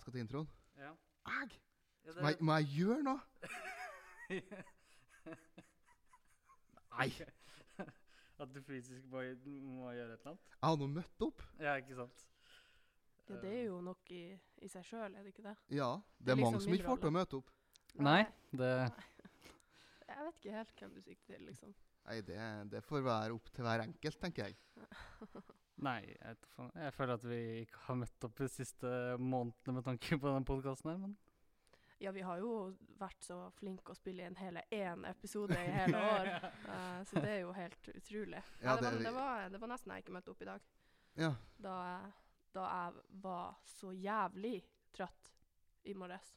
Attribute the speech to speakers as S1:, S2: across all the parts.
S1: til introen.
S2: Ja.
S1: Æg!
S2: Ja,
S1: Hva,
S2: det,
S1: hva jeg gjør nå? Nei! Jeg
S2: at du fysisk må, må gjøre et eller annet.
S1: har nå møtt opp.
S2: Ja, ikke sant?
S3: Ja, det er jo nok i, i seg sjøl, er det ikke det?
S1: Ja, det,
S3: Det er
S1: er mange
S3: liksom
S1: som
S3: min
S1: ikke får til å møte opp.
S2: Eh, Nei, det
S3: Jeg vet ikke helt hvem du sikter til, liksom.
S1: Nei, det, det får være opp til hver enkelt, tenker jeg.
S2: Nei, jeg, vet da faen. jeg føler at vi ikke har møtt opp de siste månedene med tanke på den podkasten her, men
S3: Ja, vi har jo vært så flinke å spille inn hele én episode i hele år, eh, så det er jo helt utrolig.
S1: Ja,
S3: Nei, det,
S1: det-
S3: var, det, var, det var nesten jeg ikke møtte opp i dag,
S1: Ja,
S3: da, jeg- da jeg var så jævlig trøtt i morges.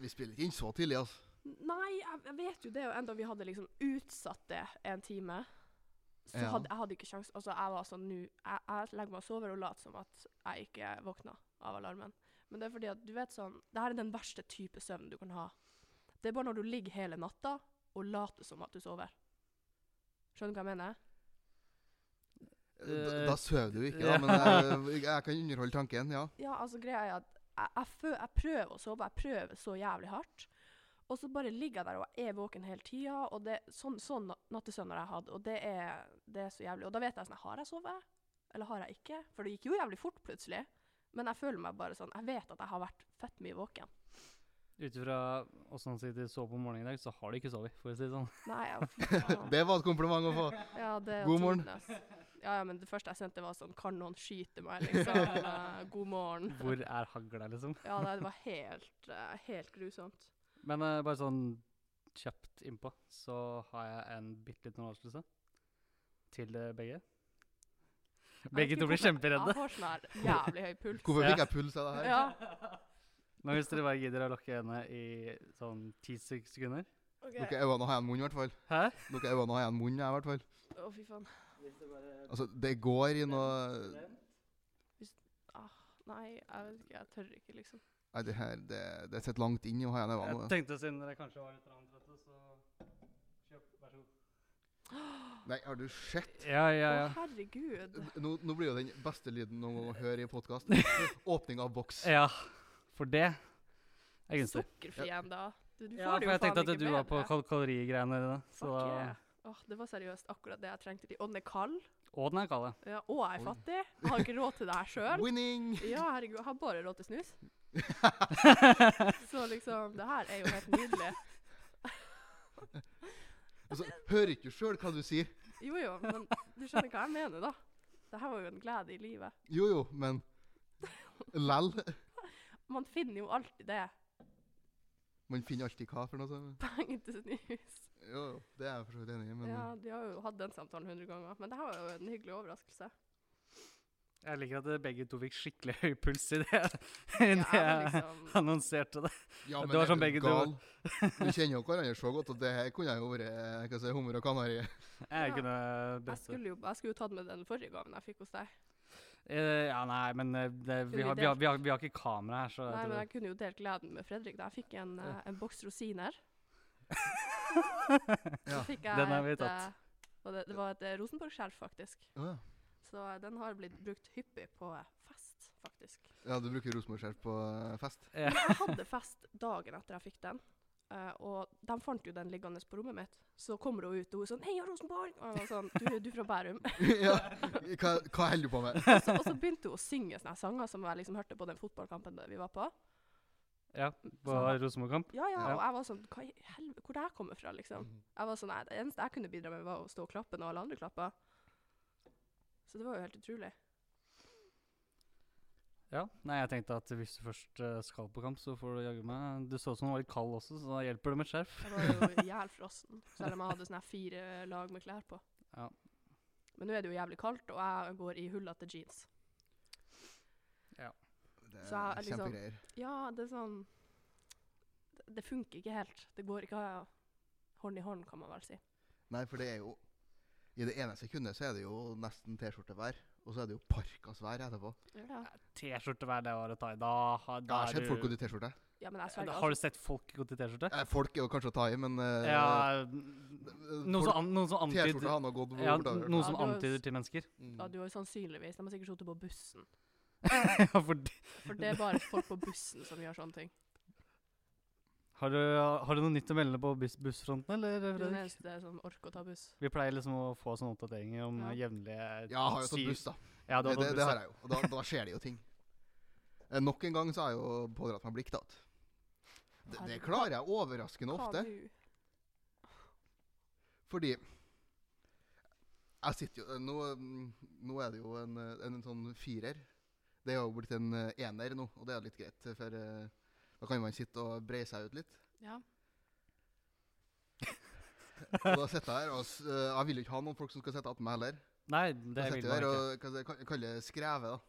S1: Vi spiller ikke inn så tidlig, altså.
S3: Nei, jeg, jeg vet jo det, og enda vi hadde liksom utsatt det en time. Så
S1: Ja.
S3: hadde, jeg hadde ikke sjans. Altså, jeg var sånn nå jeg, jeg legger meg og sover og later som at jeg ikke våkna av alarmen. Men det er fordi at du vet sånn Det her er den verste type søvn du kan ha. Det er bare når du ligger hele natta og later som at du sover. Skjønner du hva jeg mener?
S1: Da,
S2: Eh,
S1: da sover du ikke,
S2: ja.
S1: da, men jeg, jeg kan underholde tanken, ja.
S3: Ja, altså greia er at jeg, jeg, fø- jeg prøver å sove, jeg prøver så jævlig hardt. Og så bare ligger jeg der og er våken hele tida. Og det, sånn, sånn na- nattesøvn har jeg hatt, og det er, det er så jævlig. Og da vet jeg sånn Har jeg sovet, eller har jeg ikke? For det gikk jo jævlig fort plutselig. Men jeg føler meg bare sånn Jeg vet at jeg har vært fett mye våken.
S2: ut ifra åssen han sitter så på morgenen i dag, så har de ikke sovet, for å si det sånn.
S3: Nei, jeg, faen.
S1: Det var et kompliment å få.
S3: ja, det er
S1: God morgen.
S3: tidenes. Ja, ja, men det første jeg sendte, var sånn Kan noen skyte meg, liksom? Eh, God morgen.
S2: Hvor er hagla, liksom?
S3: Ja, det var helt, eh, helt grusomt.
S2: Men eh, bare sånn kjapt innpå, så har jeg en bitte liten overraskelse til eh, begge. Begge
S3: Jeg vet
S2: to
S3: ikke
S2: blir kjemperedde.
S3: Jeg får sånn her jævlig høy puls.
S1: Hvorfor
S2: Ja.
S1: fikk jeg puls av det her?
S3: Ja.
S2: Men hvis dere bare gidder å lukke øynene i sånn ti sek- sekunder
S1: Dere øynene har en munn, i hvert fall.
S2: Hæ?
S1: Dere øynene har en munn, jeg, i hvert fall.
S3: Å, fy faen.
S1: Altså, det går i noe
S3: Nei, jeg vet ikke. Jeg tør ikke, liksom.
S1: Nei, det her det, det sitter langt inn i å ha igjen
S2: Jeg
S1: øynene.
S2: tenkte siden dere kanskje var litt rann trøtte, så kjøp, vær så god.
S1: Nei, har du sett?
S2: Ja, ja,
S3: Å,
S2: ja.
S3: herregud.
S1: Nå, nå blir jo den beste lyden noen gang å høre i podkast. Åpning av boks.
S2: Ja, for det er gunstig.
S3: Sukkerfri enda. Du, du
S2: Ja,
S3: får det
S2: for
S3: jo
S2: jeg tenkte
S3: faen
S2: at
S3: ikke
S2: du var på
S3: bedre.
S2: kal kalorigreiene dine. Så
S3: Fuck
S2: da,
S3: yeah. Åh, det var seriøst akkurat det jeg trengte. til. Og den er kald.
S2: og den er kald, ja.
S3: Ja, og
S1: Oi.
S3: jeg er fattig. Jeg har ikke råd til det her sjøl.
S1: Winning!
S3: Ja, herregud. Jeg har bare råd til snus. Så liksom, det her er jo helt nydelig.
S1: Altså, hører ikke du sjøl hva du sier?
S3: Jo jo, men du skjønner hva jeg mener, da. Det her var jo en glede i livet.
S1: Jo jo, men Lell.
S3: Man finner jo alltid det.
S1: Man finner alltid hva for noe sånt.
S3: Penger til snus.
S1: Jo jo, det er jeg for så vidt enig i, men
S3: Ja, de har jo hatt den samtalen hundre ganger. Men det her var jo en hyggelig overraskelse.
S2: Jeg liker at eh, begge to fikk skikkelig høy puls i det, i det
S3: Ja, men
S2: jeg
S3: liksom,
S2: annonserte det.
S1: Ja,
S2: det var
S1: er
S2: sånn
S1: du
S2: begge to-
S1: gal? Vi kjenner jo hverandre så godt at det her kunne jo vært eh, hva skal jeg si, hummer og kanari.
S2: Jeg
S3: Ja.
S2: kunne
S3: jeg
S2: brette det.
S3: skulle jo jeg skulle jo tatt med den forrige gaven jeg fikk hos deg.
S2: Eh, Ja, nei, men eh, det, vi,
S3: vi
S2: har, vi, har, vi, har, vi har ikke kamera her, så
S3: Nei,
S2: jeg
S3: men
S2: tror-
S3: jeg kunne jo delt gleden med Fredrik. da. Jeg fikk en, eh, en boks rosiner.
S1: Ja,
S3: Så fikk jeg
S2: den har vi
S3: et,
S2: tatt.
S3: eh, og det, det var et eh, Rosenborg-skjerf, faktisk.
S1: Å ja.
S3: Så eh, den har blitt brukt hyppig på eh, fest, faktisk.
S1: ja, du bruker rosenborg på eh, fest?
S2: Ja.
S3: Men jeg hadde fest dagen etter jeg fikk den. eh, og de fant jo den liggende på rommet mitt. Så kommer hun ut, og hun er sånn 'Heia, Rosenborg!' Og jeg var sånn 'Du, du er fra Bærum?'
S1: ja. Hva, hva holder du på med?
S3: Så, og så begynte hun å synge sånne sanger som jeg liksom hørte på den fotballkampen vi var på.
S2: Ja, på
S3: Sånn.
S2: Rosenborg-kamp.
S3: Ja, ja,
S2: Ja.
S3: og jeg var sånn Hva i helvete, hvor det her kommer fra, liksom? Jeg var sånn, nei, Det eneste jeg kunne bidra med, var å stå og klappe når alle andre klappa. Så det var jo helt utrolig.
S2: Ja. Nei, jeg tenkte at hvis du først eh, skal på kamp, så får du jaggu meg Du så ut som du var litt kald også, så da hjelper det med et skjerf.
S3: Jeg var jo jævlfrossen, selv om jeg hadde sånne her fire lag med klær på.
S2: Ja.
S3: Men nå er det jo jævlig kaldt, og jeg går i hullete jeans.
S1: Det
S3: Så jeg
S1: er
S3: liksom-
S1: kjempegreier.
S3: Ja, det er sånn det- Det funker ikke helt. Det går ikke eh, hånd i hånd, kan man vel si.
S1: Nei, for det er jo I det ene sekundet så er det jo nesten T-skjortevær, og så er det jo parkasvær etterpå.
S3: Ja,
S2: T-skjorte hver dag var å ta i. Da, har-
S1: Jeg
S2: da
S1: har
S2: er
S1: sett
S2: du-
S1: folk gå i T-skjorte.
S3: ja men jeg
S2: Da
S3: sverger. altså.
S2: Har du sett folk gå i T-skjorte?
S1: Eh, Folk er jo kanskje å ta i, men eh,
S2: Ja Noen
S1: folk-
S2: som, an, noen som
S1: T-skjorta
S2: antyder
S1: har nå gått
S2: ja,
S1: bortover.
S2: noen som
S3: Ja, du-
S2: antyder til mennesker.
S1: Mm.
S3: Ja, du har jo sannsynligvis De har sikkert sittet på bussen
S2: ja, for, det-
S3: For det er bare folk på bussen som gjør sånne ting.
S2: har, du, har du noe nytt å melde på buss, bussfronten, eller,
S3: Du er den
S2: Fredrik?
S3: eneste som orker å ta buss.
S2: Vi pleier liksom å få sånne oppdateringer om
S3: Ja.
S2: eh,
S1: Ja,
S2: jevnlige
S1: jeg har jo tatt
S2: syv-
S1: buss, da.
S2: Ja, du
S1: Det,
S2: har
S1: det,
S2: tatt buss.
S1: det
S2: ja.
S1: har jeg jo. Og da, da skjer det jo ting. Eh, Nok en gang så har jeg jo pådratt meg blikk, da. Det, det
S3: Herregud.
S1: klarer jeg overraskende
S3: Hva
S1: ofte.
S3: nå?
S1: Fordi Jeg sitter jo Nå, mm, nå er det jo en, eh, en, sånn firer. Det er jo blitt en eh, ener nå, og det er litt greit. For eh, da kan man sitte og breie seg ut litt.
S3: Ja.
S1: Og da sitter jeg her og s- eh, Jeg vil jo ikke ha noen folk som skal sitte attmed meg heller.
S2: Nei,
S1: Da
S2: det
S1: sitter
S2: vil
S1: jeg
S2: man
S1: der
S2: ikke.
S1: og hva skal jeg ka- kaller det skrevet, da.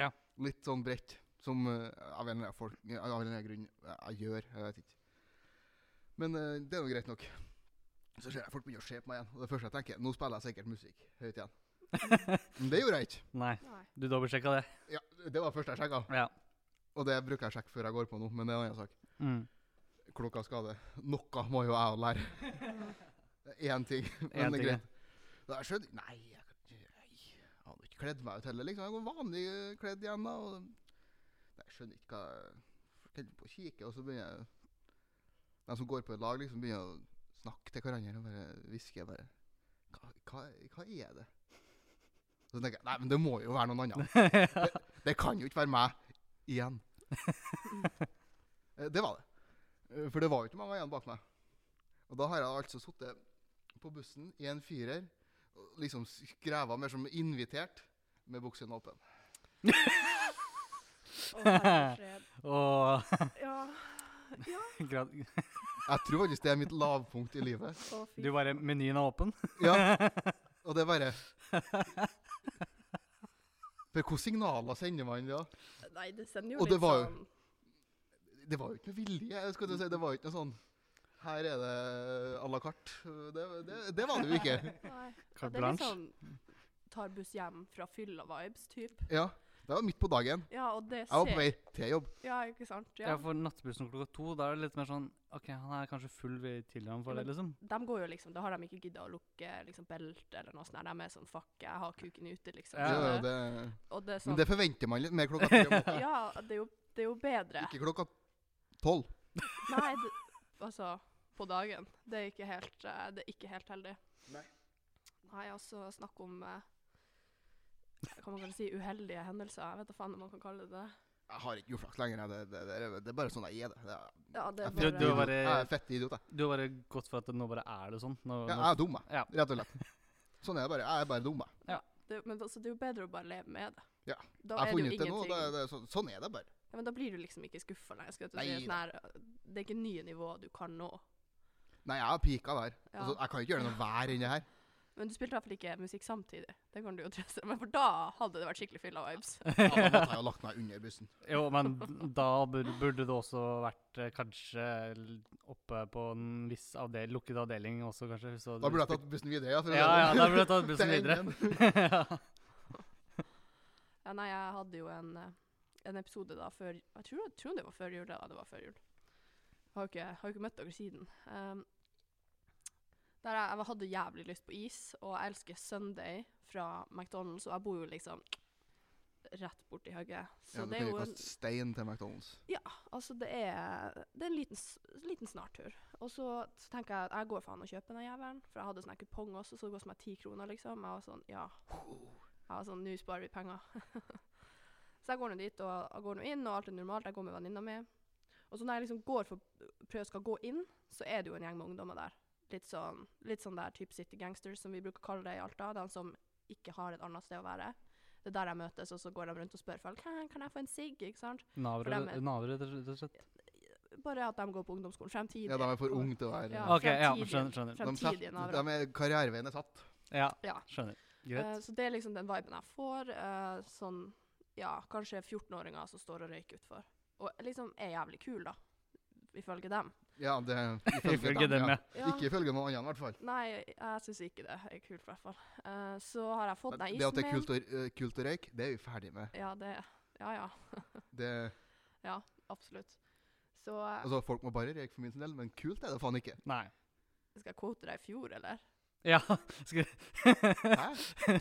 S2: Ja.
S1: Litt sånn bredt. Som eh, av en eller annen, folk, av en eller annen grunn eh, jeg gjør. Jeg vet ikke. Men eh, det er jo greit nok. Så ser jeg folk begynner å se på meg igjen. Og det første jeg tenker, nå spiller jeg sikkert musikk høyt igjen. Men det gjorde jeg ikke.
S2: Nei,
S3: Nei.
S2: du dobbeltsjekka det.
S1: Ja, det var det første jeg sjekka.
S2: Ja.
S1: Og det bruker jeg å sjekke før jeg går på nå, men det er en annen sak.
S2: Mm.
S1: Klokka skader. Noe må jo jeg lære. Det er Én ting, men
S2: En
S1: det er
S2: ting, ja.
S1: greit. Da jeg skjønte Nei, jeg, kan ikke- nei, jeg hadde ikke kledd meg ut heller, liksom. Jeg går vanlig eh, kledd igjen, da. Og, nei, jeg skjønner ikke hva Jeg holder på å kikke, og så begynner jeg De som går på et lag, liksom begynner å snakke til hverandre og bare hvisker bare hva, hva, hva er det? Så tenker jeg Nei, men det må jo være noen andre.
S2: ja.
S1: Det kan jo ikke være meg igjen. Eh, det var det. Eh, For det var jo ikke mange igjen bak meg. Og da har jeg altså sittet på bussen i en firer, og liksom skreva mer som invitert, med buksene åpne.
S3: Å, herre fred.
S2: Og
S3: Ja. ja.
S2: grad-
S1: Jeg tror faktisk det er mitt lavpunkt i livet.
S3: Å, fy.
S2: Du bare Menyen er åpen?
S1: Ja, Og det er bare For hvilke signaler sender man da?
S3: Nei, det sender jo
S1: Og
S3: litt
S1: det var jo-
S3: sånn
S1: Det var jo ikke med vilje. skal du si. Det var jo ikke noe sånn Her er det à la carte. Det, det, det var det jo ikke.
S3: Nei. Ja,
S2: Carte
S3: det er litt
S2: blanche.
S3: sånn tar buss hjem fra fylla-vibes, type.
S1: Ja, Det var midt på dagen.
S3: Ja, og det
S1: Jeg var på
S3: ser
S1: vei til jobb.
S3: Ja, ikke sant?
S2: Ja,
S3: Ja.
S2: for nattbussen klokka to, da er det litt mer sånn OK, han er kanskje full ved tidligere for
S3: Ja,
S2: det, liksom.
S3: De går jo liksom, Da har de ikke gidda å lukke liksom, belte eller noe sånt. her. De er sånn Fuck, jeg har kuken ute, liksom.
S2: Ja,
S1: Det var
S2: ja,
S1: jo
S3: det.
S1: det.
S3: Og det er
S1: Men
S3: sånn
S1: det forventer man litt mer klokka tre. om natta.
S3: Ja, det er jo, det er jo bedre.
S1: Ikke klokka tolv.
S3: Nei, det, altså På dagen. Det er ikke helt, eh, det er ikke helt heldig.
S1: Nei.
S3: Nei, altså snakk om eh, Kan man kanskje si uheldige hendelser? Jeg vet da faen om man kan kalle det det.
S1: Jeg har ikke uflaks lenger. jeg. Det, det, det, er- det er bare sånn jeg er det. det er,
S3: Ja, det er
S1: jeg,
S2: Du-
S1: er fett
S3: bare
S2: du har
S1: idiot.
S2: bare-
S1: jeg er fett idiot, jeg.
S2: Du har bare gått for at det nå bare er det sånn. Nå,
S1: Jeg, jeg
S2: nå,
S1: er dum, jeg.
S2: ja.
S1: Rett og slett. Sånn er det bare. Jeg er bare dum, jeg.
S3: det, Men altså, det er jo bedre å bare leve med det.
S1: Ja.
S3: Da
S1: Jeg har funnet ut
S3: er det jo
S1: det nå.
S3: ingenting
S1: Det, er- det, er sånn- sånn er det bare.
S3: ja, Men da blir du liksom ikke skuffa lenger. Skal jeg til å si
S1: Nei
S3: at nær- det er ikke nye nivåer du kan nå.
S1: Nei, jeg har pika der.
S3: Ja.
S1: Altså, jeg kan ikke gjøre noe vær inni her.
S3: Men du spilte i hvert fall ikke musikk samtidig. Det kan du jo trøste deg med, for da hadde det vært skikkelig fylla vibes.
S1: Ja, Da måtte jeg jo lagt meg under bussen.
S2: Jo, men da bur- burde det også vært eh, kanskje l- oppe på en viss avdel, lukket avdeling også, kanskje. Så
S1: Da burde jeg tatt bussen videre. Ja, for å
S2: Ja, ja,
S1: si
S2: da
S1: det. sånn.
S2: burde jeg tatt
S1: Til
S2: bussen videre.
S1: enden.
S2: ja.
S3: Ja, nei, jeg hadde jo en, eh, en episode da før Jeg tror, jeg tror det var før jul. Ja, det var før jul. Jeg har jo ikke, har jo ikke møtt dere siden. Ehm, der jeg, jeg hadde jævlig lyst på is, og jeg elsker Sunday fra McDonald's, og jeg bor jo liksom rett borti hugget. Så
S1: Ja, du
S3: det
S1: kan jo
S3: er jo en,
S1: kaste stein til McDonald's.
S3: altså det er, det er en liten, s- liten snartur. Og så, så tenker jeg at jeg går faen og kjøper den jævelen, for jeg hadde sånn her kupong også, så det koster meg ti kroner, liksom. Jeg var sånn, ja. Jeg var sånn, nå sparer vi penger. så jeg går nå dit, og jeg går nå inn, og alt er normalt. Jeg går med venninna mi. Og så når jeg liksom går for prøver skal gå inn, så er det jo en gjeng med ungdommer der. Litt sånn, litt sånn der type City Gangsters, som vi bruker å kalle det i Alta. De som ikke har et annet sted å være. Det er der jeg møtes, og så går de rundt og spør folk «Hæ, kan jeg få en sigg, ikke sant? For
S2: Navere,
S3: dem er-
S2: navere, rett og slett.
S3: Bare at de går på ungdomsskolen. Fremtidig.
S1: Ja, de er for
S3: ung.
S1: unge til å være
S3: Ja,
S2: OK, ja,
S3: fremtidig-
S2: skjønner. skjønner.
S1: De,
S3: Fremtidige
S1: setter-
S3: navere.
S1: de er Karriereveien er satt.
S2: Ja,
S3: Ja.
S2: skjønner.
S3: Eh,
S2: Greit.
S3: så det er liksom den viben jeg får. eh, sånn, ja, kanskje 14-åringer som står og røyker utfor. Og liksom er jævlig kul, da. Ifølge dem.
S1: Ja, det
S2: Ifølge dem, ja.
S3: Ja.
S1: Ikke ifølge noen andre, i hvert fall.
S3: Nei, jeg syns ikke det er kult, i hvert fall. Eh, så har jeg fått den
S1: Men
S3: isen
S1: Det at det er
S3: min.
S1: kult å, eh, kult å røyke, det er vi ferdig med.
S3: Ja, det Ja ja,
S1: Det,
S3: absolutt. Så eh,
S1: altså, folk må bare røyke for min sin del, men kult er det faen ikke.
S2: Nei.
S3: skal jeg quote deg i fjor, eller?
S2: Ja. Skal,
S1: Hæ?
S3: Du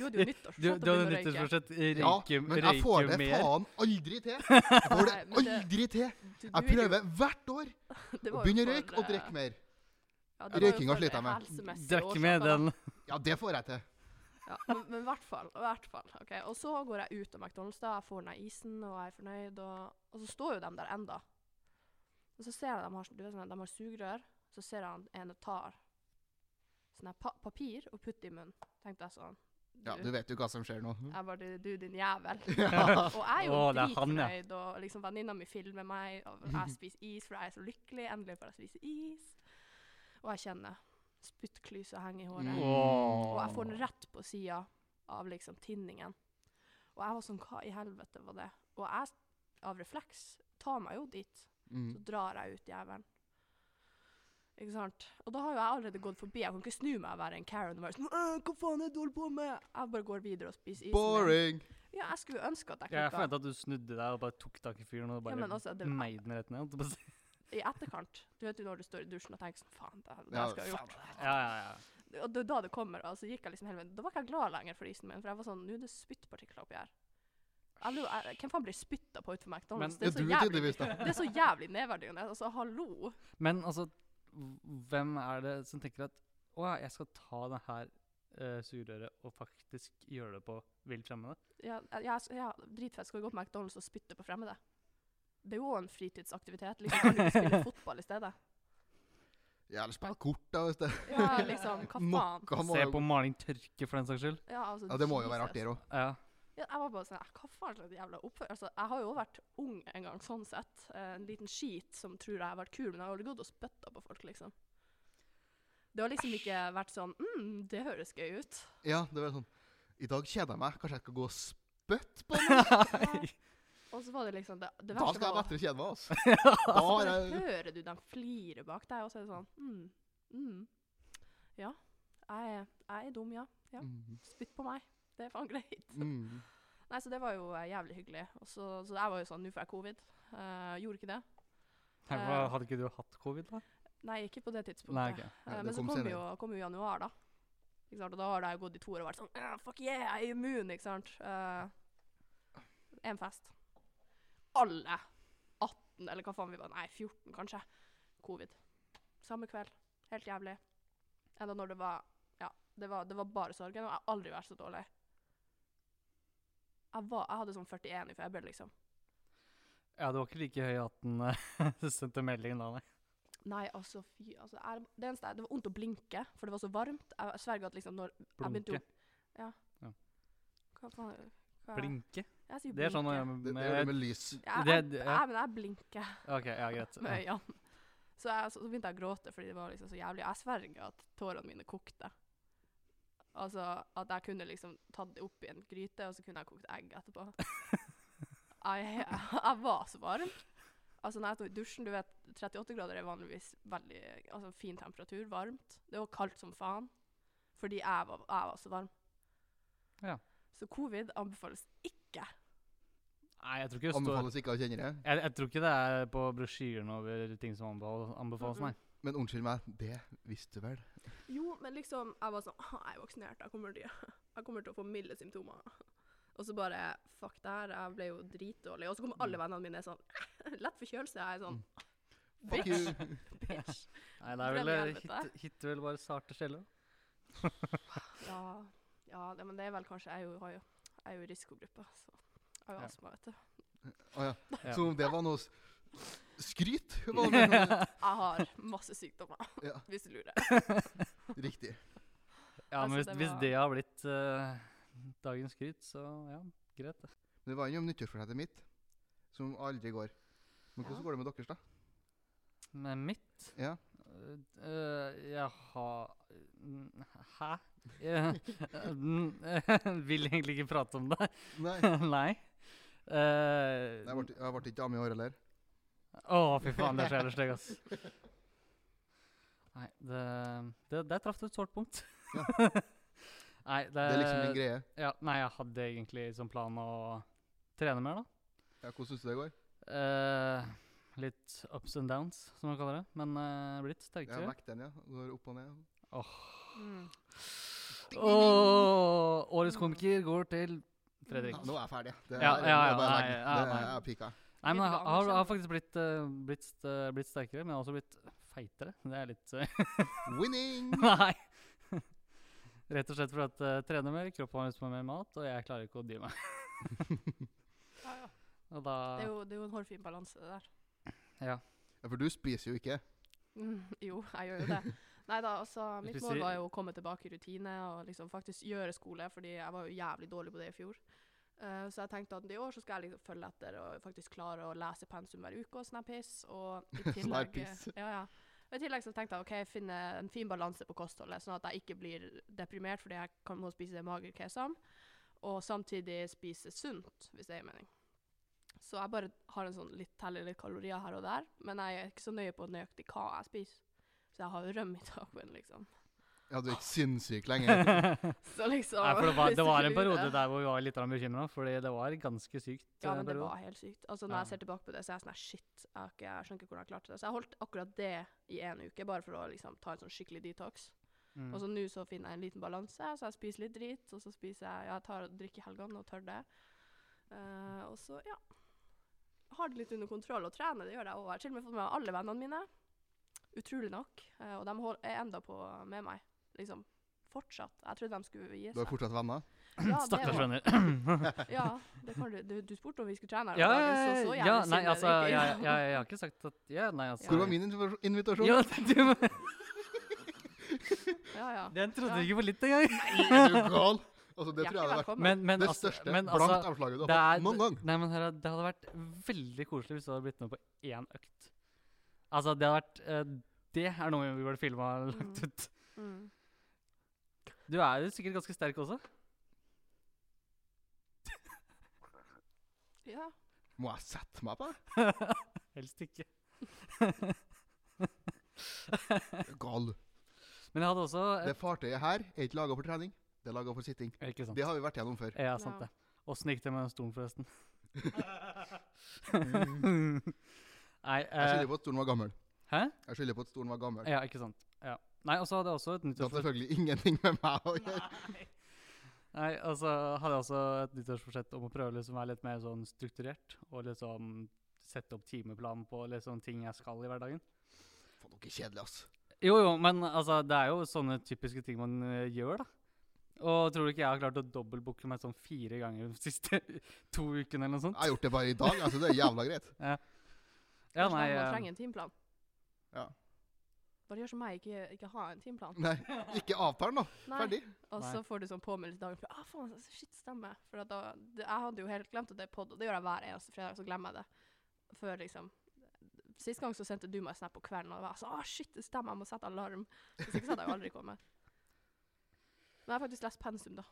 S3: hadde jo
S2: du,
S3: nyttårsforsett
S2: du
S3: å
S2: hadde
S3: begynne å røyke.
S2: nyttårsforsett røyke,
S1: Ja, men jeg får det
S2: mer.
S1: faen aldri til. Jeg får det
S3: Nei, men det-
S1: aldri til.
S3: Du- du
S1: Jeg
S3: ville jo-
S1: prøver hvert år
S3: det
S1: å
S3: var jo
S1: begynne å
S3: for,
S1: røyke og
S3: eh,
S1: drikke mer.
S3: ja, det var jo
S1: Røykinga
S3: for
S1: sliter jeg med.
S3: helsemessige
S2: Drekk med
S3: årsaker, da.
S2: den.
S1: Ja, det får jeg til.
S3: Ja, men- men i hvert fall. i hvert fall, ok. Og så går jeg ut av McDonald's, da, jeg får den der isen og jeg er fornøyd, og, og så står jo de der enda. Og så ser jeg de har, sånn- du vet, sånn, de har sugerør, så ser jeg han ene tar sånn her pa papir og putter i munnen. Tenkte jeg sånn
S1: Ja, du vet jo hva som skjer nå.
S3: Jeg bare Du, din jævel.
S1: Ja.
S3: Og jeg er jo
S2: Å, det er han, ja.
S3: dritfornøyd, og liksom venninna mi filmer meg, og jeg spiser is, for jeg er så lykkelig. Endelig får jeg spise is. Og jeg kjenner spyttklysa henge i håret.
S1: Mm.
S2: Åh.
S3: Og jeg får den rett på sida av liksom tinningen. Og jeg var sånn Hva i helvete var det? Og jeg, av refleks, tar meg jo dit.
S1: Mm.
S3: Så drar jeg ut jævelen. Ikke sant? Og da har jo jeg allerede gått forbi. Jeg kan ikke snu meg og være en Karen og være sånn «Øh, Hva faen er det du holder på med? Jeg bare går videre og spiser isen. min.
S1: Boring!
S3: Ja, jeg skulle ønske at jeg
S2: Jeg
S3: klikka.
S2: forventa at du snudde deg og bare tok tak i fyren og
S3: Ja,
S2: bare
S3: men altså, det-
S2: meide den rett ned. holdt jeg på å si.
S3: I etterkant. Du vet jo når du står i dusjen og tenker sånn Faen, det, det
S1: Ja,
S3: skal jeg ha gjort.
S2: Ja, ja, ja.
S3: Og det er da det kommer, og så gikk jeg liksom hele veien. Da var ikke jeg glad lenger for isen min, for jeg var sånn Nå er det spyttpartikler oppi her. Jeg lurer, jeg, hvem faen blir spytta på utenfor McDonald's?
S2: Men-
S3: det,
S1: Ja, du
S3: er så jævlig,
S1: tydeligvis, da.
S3: det er så jævlig nedverdigende. Altså, hallo.
S2: Men altså, hv- hvem er det som tenker at å ja, jeg skal ta det her eh, sugerøret og faktisk gjøre det på vilt fremmede?
S3: Ja, jeg, jeg, ja, dritfett. Skal vi gå på McDonald's og spytte på fremmede? Det er jo en fritidsaktivitet. Liksom, kan du ikke spille fotball i stedet?
S1: Ja, eller spill kort, da, hvis det
S3: Ja, liksom, hva faen?
S1: Mokka må
S2: Se
S1: jo-
S2: på maling tørke, for den saks skyld.
S3: Ja, altså,
S1: Ja, det må jo være
S3: Jesus.
S1: artigere òg.
S2: Ja.
S3: Ja, jeg var bare sånn, hva faen slags jævla oppførsel? Altså, jeg har jo også vært ung en gang, sånn sett. Eh, En liten skit som tror jeg har vært kul, men jeg har aldri gått og spytta på folk, liksom. Det har liksom ikke vært sånn mm, det høres gøy ut.
S1: Ja, det var sånn I dag kjeder jeg meg. Kanskje jeg skal gå og spytte på noen?
S2: Nei.
S3: Og så var det liksom det, det
S1: Da skal
S3: verste
S1: jeg
S3: var
S1: lettere kjede meg, altså. Da har
S3: bare
S1: jeg
S3: hører du dem flire bak deg, og så er det sånn mm, mm. Ja, jeg, er- jeg er dum, ja. Ja.
S1: Mm,
S3: Spytt på meg. Det er faen greit.
S1: mm.
S3: Nei, så det var jo eh, jævlig hyggelig. Og så, så jeg var jo sånn, nå får jeg covid. Eh, gjorde ikke det.
S2: hva- Hadde ikke du hatt covid, da?
S3: Nei, ikke på det tidspunktet.
S2: Nei, ok.
S3: Eh,
S1: Nei, det
S3: men så
S1: kom
S3: kom
S1: senere.
S3: jo, kom jo januar, da. Ikke sant? Og da har det jo gått i to år og vært sånn «Ah, Fuck yeah, jeg er immun, ikke sant. Eh, en fest. Alle 18, eller hva faen vi var, nei, 14 kanskje, covid. Samme kveld. Helt jævlig. Enda når det var Ja, det var, det var bare sorgen, og jeg har aldri vært så dårlig. Jeg, var, jeg hadde sånn 41 i feber, liksom.
S2: Ja, du var ikke like høy at den eh, sendte meldingen da, nei.
S3: Nei, altså, fy altså, jeg, Det eneste jeg- Det var vondt å blinke, for det var så varmt. Jeg sverger at liksom når Jeg begynte jo
S2: Blunke.
S3: Ja.
S2: Ja.
S3: Hva faen hva,
S2: Blinke?
S3: Jeg sier
S2: Det er sånn
S3: blinke.
S1: Det, det
S2: med,
S1: gjør det
S2: med
S1: med lys.
S3: Jeg,
S2: det-
S3: jeg,
S2: det-
S3: jeg,
S2: ja.
S3: men jeg blinker
S2: OK, ja, greit.
S3: med
S2: Ja.
S3: øynene. Så, jeg, så, så begynte jeg å gråte fordi det var liksom så jævlig. Jeg sverger at tårene mine kokte. Altså at jeg kunne liksom tatt det opp i en gryte, og så kunne jeg kokt egg etterpå. jeg, jeg, jeg var så varm. Altså når jeg sto i dusjen, du vet, 38 grader er vanligvis veldig altså, fin temperatur, varmt. Det var kaldt som faen, fordi jeg var, jeg var så varm.
S2: Ja.
S3: Så covid anbefales ikke.
S2: Nei, jeg tror ikke det står
S1: Anbefales ikke av kjennere.
S2: jeg, jeg tror ikke det er på brosjyren over ting som anbefal- anbefales,
S3: Mm, mm.
S2: nei.
S1: Men unnskyld meg, det visste du vel?
S3: Jo, men liksom, jeg var sånn, «Ah, jeg er vaksinert, jeg kommer, til, jeg kommer til å få milde symptomer. Og så bare, fuck det her, jeg ble jo dritdårlig. Og så kommer
S1: Mm.
S3: alle vennene mine sånn, lett forkjølelse, jeg er sånn,
S1: Mm. Fuck you.
S3: bitch.
S2: Nei, det er vel
S3: Drømmer i
S2: eh, hit-
S3: helvete.
S2: hitter vel bare sarte sjeler.
S3: Ja, ja det, men det er vel kanskje Jeg er jo, har jo, jeg er jo i risikogruppa. Så jeg har jo
S2: Ja.
S3: astma, vet du.
S1: Å ja.
S2: Ja.
S1: Som om det var noe s- skryt. Var det noe?
S3: Jeg har masse sykdommer,
S1: Ja,
S3: hvis du lurer.
S1: riktig.
S2: Ja, men
S3: Altså,
S2: hvis
S3: det
S2: det, hvis
S3: var-
S2: det har blitt eh, dagens skryt, så ja, greit. det.
S1: Men det var innom nyttårsforsettet mitt, som aldri går. Men
S3: Ja.
S1: hvordan går det med deres, da?
S2: Men mitt
S1: Ja.
S2: eh, eh, Jeg har n- Hæ? Jeg eh, mm, vil egentlig ikke prate om det.
S1: Nei,
S2: Nei. Eh,
S1: jeg ble, jeg ble ikke dame i år heller.
S2: Å, fy faen, det er så jævlig stygg, ass. Nei, det, det Der traff du et sårt punkt.
S1: Ja.
S2: nei, det,
S1: Det er liksom
S2: Eh,
S1: en greie.
S2: ja, nei, jeg hadde egentlig som plan å trene mer, da.
S1: Ja, hvordan syns du det går?
S2: Eh, litt ups and downs, som man kaller det. Men eh, blitt
S1: Jeg har
S2: sterkere.
S1: vekt den, ja. Går opp og ned.
S3: Mm.
S2: Åh, årets komiker går til Fredrik.
S1: Ja, nå er jeg ferdig. Det er,
S2: Ja, ja, ja,
S1: det er bare
S2: nei,
S1: verden.
S2: ja,
S1: det er,
S2: nei.
S1: jeg er pika.
S2: Nei, men
S3: Litt
S2: jeg har,
S3: vanlig,
S2: har- har
S3: skjønner
S2: faktisk blitt, eh, blitt, st- eh, blitt sterkere, men jeg har også blitt feitere. Det er litt eh,
S1: Winning!
S2: Nei. Rett og slett fordi at jeg trener mer, kroppen har lyst på mer mat, og jeg klarer ikke å dy meg.
S3: Ja, ja.
S2: Og da
S3: Det, er jo, det er jo en hårfin balanse, det der.
S1: Ja, for du spiser jo ikke.
S3: Mm, jo, jeg gjør jo det. Nei da, altså,
S2: Du
S3: mitt
S2: spiser-
S3: mål var jo å komme tilbake i rutine og liksom faktisk gjøre skole, fordi jeg var jo jævlig dårlig på det i fjor. Eh, så jeg tenkte at i år så skal jeg liksom følge etter og faktisk klare å lese pensum hver uke og sånn her piss. Og i tillegg,
S1: piss.
S3: ja, ja. Og I tillegg så tenkte jeg ok, finne en fin balanse på kostholdet, sånn at jeg ikke blir deprimert fordi jeg kan, må spise det magert kesam, og samtidig spise sunt, hvis det gir mening. Så jeg bare har en sånn litt teller litt kalorier her og der, men jeg er ikke så nøye på nøyaktig hva jeg spiser. Så jeg har jo rømme i tacoen, liksom.
S1: Ja, du er ikke sinnssyk lenger.
S2: Nei,
S3: Så liksom
S2: for det var,
S3: hvis
S2: det var
S3: du
S2: en
S3: lurer-
S2: periode der hvor vi var litt bekymra, fordi det var ganske sykt.
S3: Ja,
S2: eh,
S3: men det
S2: periode.
S3: var helt sykt. Altså, når
S2: Ja.
S3: jeg ser tilbake på det, så er jeg sånn her, shit, jeg, har ikke, jeg skjønner ikke hvordan jeg klarte det. Så jeg holdt akkurat det i en uke, bare for å liksom ta en sånn skikkelig detox.
S2: Mm.
S3: Og så nå så finner jeg en liten balanse, så jeg spiser litt drit, og så spiser jeg Ja, jeg tar og drikker i helgene og tør det. Eh, og så, ja. Har det litt under kontroll, og trener, det gjør jeg òg. Jeg har til og med fått med meg alle vennene mine. Utrolig nok. Eh, og de hol- er enda på med meg, liksom. Fortsatt. Jeg trodde de skulle gi
S1: Du er
S3: seg.
S1: fortsatt venner.
S3: Ja, det
S2: Stakkars
S3: var-
S2: venner.
S3: Ja, det kan du. Du, du spurte om vi skulle trene her om
S2: Ja, ja,
S3: dagen, så
S2: ja,
S3: så jævlig
S2: ja,
S3: synd
S2: nei,
S3: er det
S2: altså,
S3: ikke.
S2: jeg, jeg, jeg har ikke sagt at Ja, nei, altså
S1: Hvor var min invi- invitasjon?
S2: Ja, du,
S3: Ja, ja.
S2: den trodde
S3: Ja.
S2: jeg ikke på litt engang.
S1: Nei, er du gal? Altså, det tror
S3: Hjertelig
S1: jeg hadde vært
S3: velkommen.
S2: Men, men,
S1: det
S2: altså,
S1: største
S2: men,
S1: blankt
S2: altså,
S1: avslaget du
S2: det,
S1: har
S2: er,
S1: fått noen gang.
S2: nei, men, herre, det hadde vært veldig koselig hvis det hadde blitt med på én økt. Altså, det hadde vært eh, Det er noe vi burde filma og lagt
S3: Mm.
S2: ut.
S3: Mm.
S2: Du er jo sikkert ganske sterk også.
S3: ja.
S1: Må jeg sette meg på det?
S2: Helst ikke.
S1: Er du Gal.
S2: Men jeg hadde også
S1: Det fartøyet her er ikke laga for trening, det er laga for sitting.
S2: eh, Ikke sant.
S1: Det har vi vært gjennom før.
S2: Ja, sant
S3: Ja.
S2: det. Åssen gikk det med den stolen, forresten? Nei
S1: Jeg
S2: eh,
S1: skylder på at stolen var gammel.
S2: Hæ?
S1: Jeg skylder på at stolen var gammel.
S2: Ja, ikke sant. Ja. Nei, og så hadde jeg også et
S1: Det har
S2: nyttårsforsett
S1: selvfølgelig ingenting med meg å gjøre.
S2: Nei, og så hadde jeg også et nyttårsforsett om å prøve liksom å være litt mer sånn strukturert. Og liksom sette opp timeplan på liksom ting jeg skal i hverdagen.
S1: Faen, dere er kjedelige, ass.
S2: Jo, jo, men altså, det er jo sånne typiske ting man eh, gjør, da. Og tror du ikke jeg har klart å dobbeltbooke meg sånn fire ganger de siste to ukene eller noe
S1: Jeg
S2: sånt?
S1: har gjort det bare i dag, altså. Det er jævla greit.
S2: Ja,
S3: Kanskje
S2: nei,
S3: man
S2: eh,
S3: trenger en timeplan.
S1: Ja.
S3: Bare gjør som meg, ikke, ikke ha en timeplan.
S1: Nei, ikke avtalen, da.
S3: Nei.
S1: Ferdig.
S3: Og
S2: Nei.
S3: så får du sånn påmeldelse dagen før. Ah, faen, shit, stemmer. For at da, det, jeg hadde jo helt glemt at det er pod, og det gjør jeg hver eneste fredag, så glemmer jeg det. Før liksom Sist gang så sendte du meg en snap på kvelden, og jeg var sånn ah, shit, det stemmer, jeg må sette alarm. Hvis ikke så hadde jeg jo aldri kommet. Men jeg har faktisk lest pensum, da.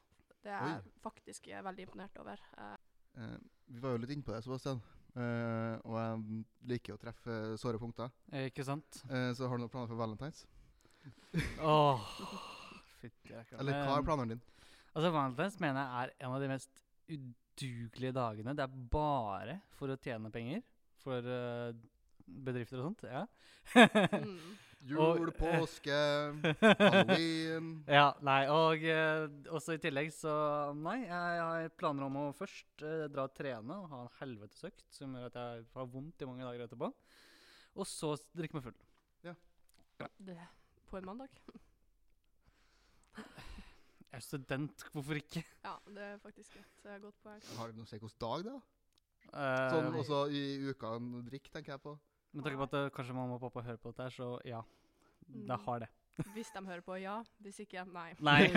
S3: Det er jeg faktisk eh, veldig imponert over. Eh,
S1: Eh, vi var jo litt inne på det, Sebastian. Eh, og jeg liker å treffe såre punkter.
S2: ikke sant?
S1: Eh, så har du noen planer for valentines?
S2: Åh, fytti rakkeren.
S1: Eller hva
S2: Eh,
S1: er planene dine?
S2: Altså, Valentine's mener jeg er en av de mest udugelige dagene. Det er bare for å tjene penger for eh, bedrifter og sånt. Ja.
S3: mm.
S1: Jul,
S2: og-
S1: påske, halloween
S2: ja, nei, og eh, også i tillegg så Nei, jeg har planer om å først eh, dra og trene og ha en helvetesøkt som gjør at jeg har vondt i mange dager etterpå. Og så s- drikke meg full.
S3: det, på en mandag.
S2: Jeg er student, hvorfor ikke?
S3: Ja, det er faktisk et eh, godt poeng.
S1: Har du noe å si hvilken dag det er?
S2: Eh,
S1: Sånn
S3: Eh,
S1: også i uka en drikk, tenker jeg på.
S2: Med tanke på at eh, kanskje mamma og pappa hører på dette her, så ja. Det
S3: Mm.
S2: har det.
S3: Hvis de hører på, ja. Hvis ikke, nei.
S2: Nei.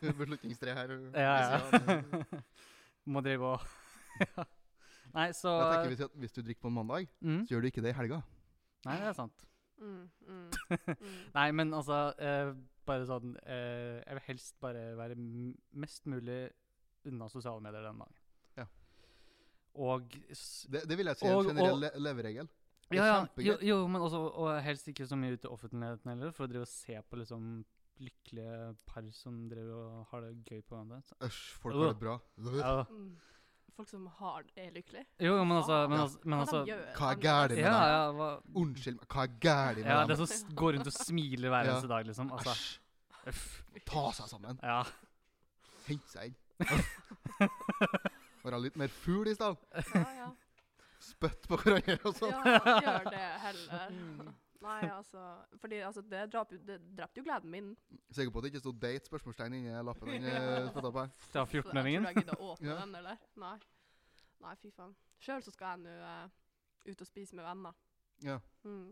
S1: Beslutningstre her.
S2: Ja,
S1: Hvis jeg-
S2: ja. Må drive og Ja. Nei, så
S1: Jeg tenker hvis, hvis du drikker på en mandag,
S2: mm.
S1: så gjør du ikke det i helga.
S2: Nei, det er sant.
S3: Mm, mm, mm.
S2: Nei, men altså eh, Bare sånn eh, Jeg vil helst bare være m mest mulig unna sosiale medier den dagen.
S1: Ja.
S2: Og s-
S1: Det, det vil jeg si er
S2: Og-
S1: en
S2: og-
S1: generell le- leveregel. Det er
S2: ja, ja, jo,
S1: kjempegøy.
S2: jo, men også og helst ikke så mye ut i offentligheten heller, for å drive og se på liksom lykkelige par som driver og har det gøy på hverandre. Så-
S1: Æsj, folk har det bra.
S2: Ja.
S3: Mm. Folk som har er lykkelige.
S2: Jo, jo, men altså, men
S1: Ja.
S2: altså, men
S3: Hva
S2: altså
S3: de gjør,
S1: Hva er
S3: andre-
S1: gærlig med
S2: Ja,
S1: deg?
S2: ja, hva,
S1: Unnskyld meg, hva er gærent med
S2: ja,
S1: deg?
S2: det som s- går rundt og smiler hver
S1: Ja.
S2: eneste dag, liksom. Altså.
S1: Æsj.
S2: Uff.
S1: Ta seg sammen.
S2: Ja.
S1: Hente seg inn. Være litt mer fugl i stedet.
S3: Ja, ja.
S1: Spytt på hverandre og sånn.
S3: ja, gjør det heller.
S2: Mm.
S3: Nei, altså Fordi altså, det drap jo- det drepte jo gleden min.
S1: Sikker på at det ikke sto 'date' spørsmålstegn inni lappen han eh, spytta på her.
S2: Ta
S3: Så Jeg tror
S2: 14-meldingen.
S3: jeg gidder å åpne
S1: Ja.
S3: den, eller? Nei. Nei, fy faen. Sjøl så skal jeg nå eh, ut og spise med venner.
S1: Ja.
S3: Mm.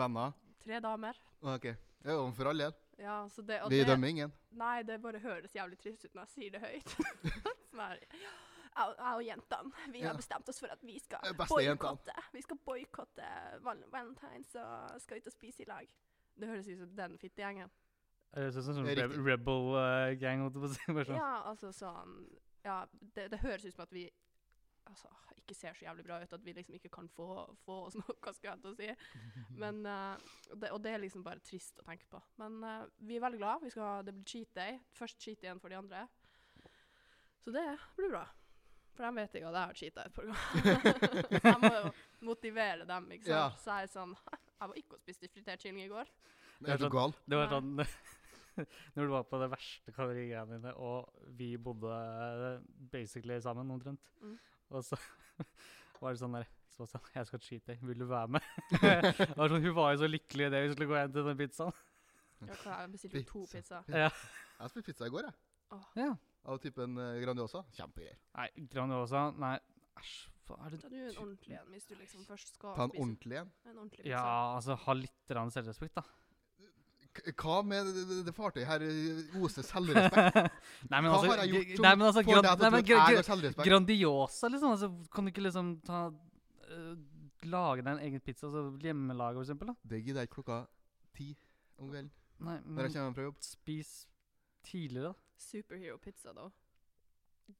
S1: Venner.
S3: Tre damer.
S1: OK. Ja, og for all del.
S3: Ja, så det, og
S1: Vi
S3: det,
S1: dømmer ingen.
S3: Nei, det bare høres jævlig trist ut når jeg sier det høyt. Sånn her, Jeg jeg og jentene vi
S1: Ja.
S3: har bestemt oss for at vi skal
S1: Det er beste jentene.
S3: boikotte Vi skal boikotte val Valentine's og skal ut og spise i lag. Det høres ut som den fittegjengen.
S2: Høres ut som sånn
S1: Det er
S2: Reb-
S1: riktig.
S2: rebel eh, gang. holdt jeg på å si, bare sånn.
S3: Ja, altså sånn Ja, det, det høres ut som at vi altså, ikke ser så jævlig bra ut, at vi liksom ikke kan få, få oss noe, skal jeg til å si. Men, eh, det, og det er liksom bare trist å tenke på. Men eh, vi er veldig glad. Vi skal, ha- det blir cheat day. Først cheat igjen for de andre. Så det blir bra. For de vet ikke at jeg har cheata et par ganger. Så jeg må jo motivere dem, ikke
S1: Ja.
S3: sant. Så jeg er sånn Jeg var ikke og spiste fritert kylling i går.
S1: Er du
S2: sånn-
S1: gal?
S2: Det var
S3: Nei.
S2: sånn Når du var på det verste kalorigreiene dine, og vi bodde eh, basically sammen omtrent,
S3: Mm.
S2: og så var det sånn der Sebastian, jeg skal cheate, vil du være med? det var sånn, Hun var jo så lykkelig i det vi skulle gå hjem til den pizzaen.
S3: Ja, hva, Jeg bestilte jo to pizzaer.
S2: Ja.
S1: Jeg spiste pizza i går, jeg.
S2: ja.
S1: Av typen eh, Grandiosa. Kjempegreier.
S2: Nei, Grandiosa Nei, æsj, hva er det
S3: Ta nå en ordentlig en hvis du liksom først skal
S1: Ta en
S3: spise
S1: ordentlig en.
S3: en ordentlig pizza.
S2: Ja, altså, ha litt grann selvrespekt, da.
S1: K- Hva med det, det, det fartøyet her eh, oser selvrespekt?
S2: Nei, men
S1: Hva
S2: altså,
S1: har jeg gjort
S2: gr-
S1: som
S2: nei, men altså
S1: får deg
S2: gran-
S1: til å
S2: nei,
S1: tro
S2: men
S1: at
S2: gr-
S1: jeg har selvrespekt?
S2: Grandiosa, liksom. Altså, kan du ikke liksom ta øh, Lage deg en egen pizza, altså hjemmelaga, for eksempel? Da?
S1: Det gidder jeg ikke klokka ti om kvelden
S2: Nei,
S1: når jeg
S2: men
S1: kommer fra jobb.
S2: spis tidligere, da.
S3: Superhero pizza, da.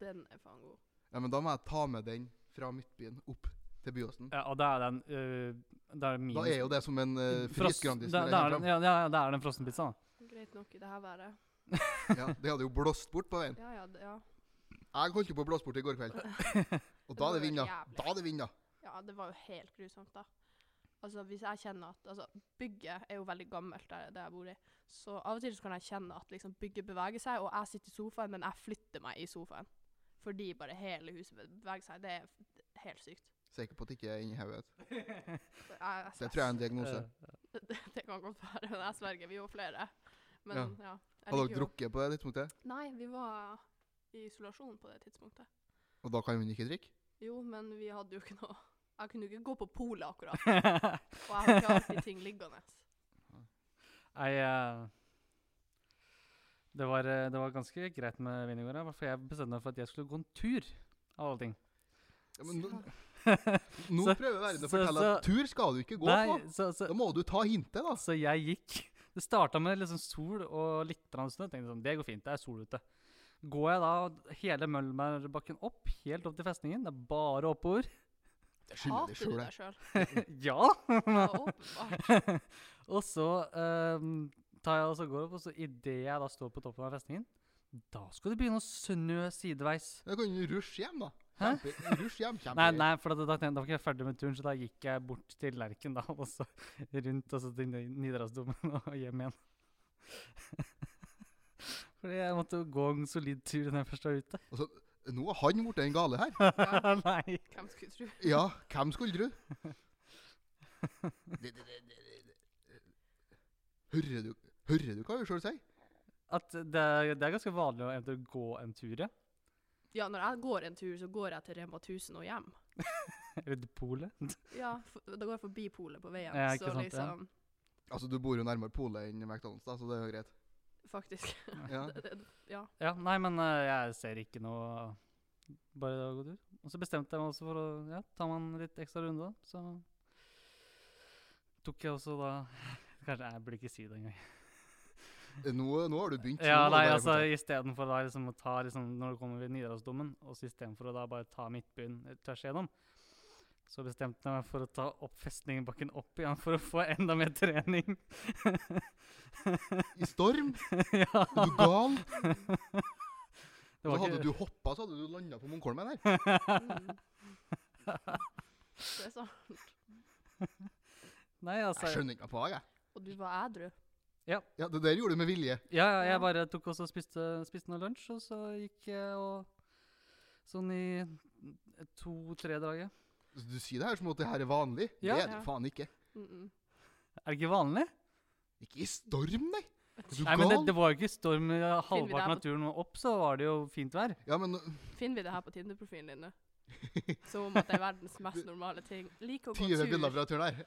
S3: Den er faen god.
S1: Ja, men da må jeg ta med den fra Midtbyen opp til Byåsen.
S2: Ja, og da er den øh, Da er det minus
S1: Da er jo det som en uh,
S2: Frost-
S1: frisk Grandis.
S2: da,
S1: når jeg
S2: da,
S1: kommer
S2: er den,
S1: fram.
S2: ja, ja, ja, da er det en frossen pizza, da.
S3: Greit nok i det her været.
S1: Ja, det hadde jo blåst bort på veien.
S3: Ja, ja, det- ja.
S1: Jeg holdt jo på å blåse bort i går kveld. Og da er det vind, da. Da er det vind, da.
S3: Ja, det var jo helt grusomt, da. Altså, hvis jeg kjenner at Altså, bygget er jo veldig gammelt der, der jeg bor i. Så av og til så kan jeg kjenne at liksom bygget beveger seg, og jeg sitter i sofaen, men jeg flytter meg i sofaen. Fordi bare hele huset beveger seg. Det er f- helt sykt.
S1: Sikker på at det ikke er inni hodet.
S3: Så Jeg, jeg,
S1: Det tror jeg er en diagnose.
S2: Eh,
S3: det, det kan godt være, men jeg sverger, vi er jo flere. Men ja.
S1: Ja.
S3: jeg
S1: Hadde
S3: liker
S1: dere
S3: jo-
S1: drukket på det tidspunktet?
S3: Nei, vi var i isolasjon på det tidspunktet.
S1: Og da kan hun ikke drikke?
S3: Jo, men vi hadde jo ikke noe Jeg kunne jo ikke gå på polet akkurat. Og jeg har ikke alltid ting liggende.
S2: Nei, eh, det, var, eh, det var ganske greit med vin i går, ja, for jeg bestemte meg for at jeg skulle gå en tur. Av alle ting.
S1: Ja, men nå, nå
S2: Så-
S1: prøver verden å
S2: så-
S1: fortelle at tur skal du ikke gå
S2: Nei,
S1: på.
S2: så, så,
S1: Da må du ta hintet, da.
S2: Så jeg gikk. Det starta med liksom sol og litt grann snø. Tenkte sånn, det går fint, det er sol ute. Går jeg da hele Møllmærbakken opp, helt opp til festningen? Det er bare oppover.
S1: Jeg skylder deg
S3: Hater du
S1: sjøl,
S3: deg
S1: jeg.
S3: sjøl?
S2: ja!
S3: Ja, åpenbart.
S2: og så ehm, tar jeg og så går jeg opp, og så idet jeg da står på toppen av festningen, da skal det begynne å snø sideveis.
S1: Da kan du rushe hjem, da.
S2: Hæ?
S1: Kjempe, rushe hjem, kjempe.
S2: Nei, nei, for da, da, tenkte jeg- da var ikke jeg ferdig med turen, så da gikk jeg bort til Lerkendal, og så rundt og så til Ni- Nidarosdomen og hjem igjen. Fordi jeg måtte jo gå en solid tur når jeg først var ute.
S1: Nå er han blitt den gale her.
S3: Ja,
S2: Nei.
S3: hvem skulle tro?
S1: Ja, hvem skulle tro? Det- det- det- det- det- Hører du, hører du hva hun sjøl sier?
S2: At det, er- det er ganske vanlig å eventuelt gå en tur, ja.
S3: Ja, når jeg går en tur, så går jeg til Rema 1000 og hjem.
S2: Eller til polet.
S3: Ja, f- Da går jeg forbi polet på veien.
S2: Ja, ikke
S3: så
S2: sant, ja.
S3: liksom
S1: Altså, du bor jo nærmere polet enn McDonald's, da, så det er jo greit.
S3: Faktisk.
S1: Ja.
S3: Det- det- Ja.
S2: Ja, nei, men eh, jeg ser ikke noe Bare å gå tur. Og så bestemte jeg meg også for å ja, ta meg en litt ekstra runde, da. Så tok jeg også da Kanskje jeg burde ikke si det engang.
S1: Nå, nå har du begynt. så nå
S2: Ja,
S1: må
S2: nei,
S1: du bare
S2: altså
S1: fortsette.
S2: istedenfor da liksom å ta liksom Når du kommer ved Nidarosdomen, og så istedenfor å da bare ta Midtbyen eh, tvers igjennom, så bestemte jeg meg for å ta opp festningbakken opp igjen for å få enda mer trening.
S1: I storm?
S2: ja.
S1: Er du gal?
S2: Det
S1: Så
S2: var
S1: hadde
S2: ikke
S1: du hoppa, så hadde du landa på Munkholmen her.
S3: Mm. Det er sånn. sant.
S2: Nei, altså
S1: Jeg skjønner ikke meg på det, jeg.
S3: Og du var ædru.
S2: Ja.
S1: Ja, Det der gjorde du med vilje.
S2: Ja, ja,
S3: Ja.
S2: jeg bare tok også og spiste, spiste noe lunsj, og så gikk jeg og Sånn i to-tre dager.
S1: Så Du sier det her som at det her er vanlig.
S2: Ja.
S1: det er det
S3: Ja.
S1: faen ikke.
S3: Mm -mm.
S2: Er det ikke vanlig?
S1: Ikke i storm, nei! Er du
S2: Nei, men det,
S1: gal?
S2: det var jo ikke storm. eh,
S3: vi det her
S2: Halvparten
S3: på-
S2: av turen var opp, så var det jo fint vær.
S1: Ja, men
S3: Finner vi det her på Tinder-profilen din nå? Som om at det er verdens mest normale ting. Liker å gå
S1: 20 bilder
S3: tur.
S1: fra turen her.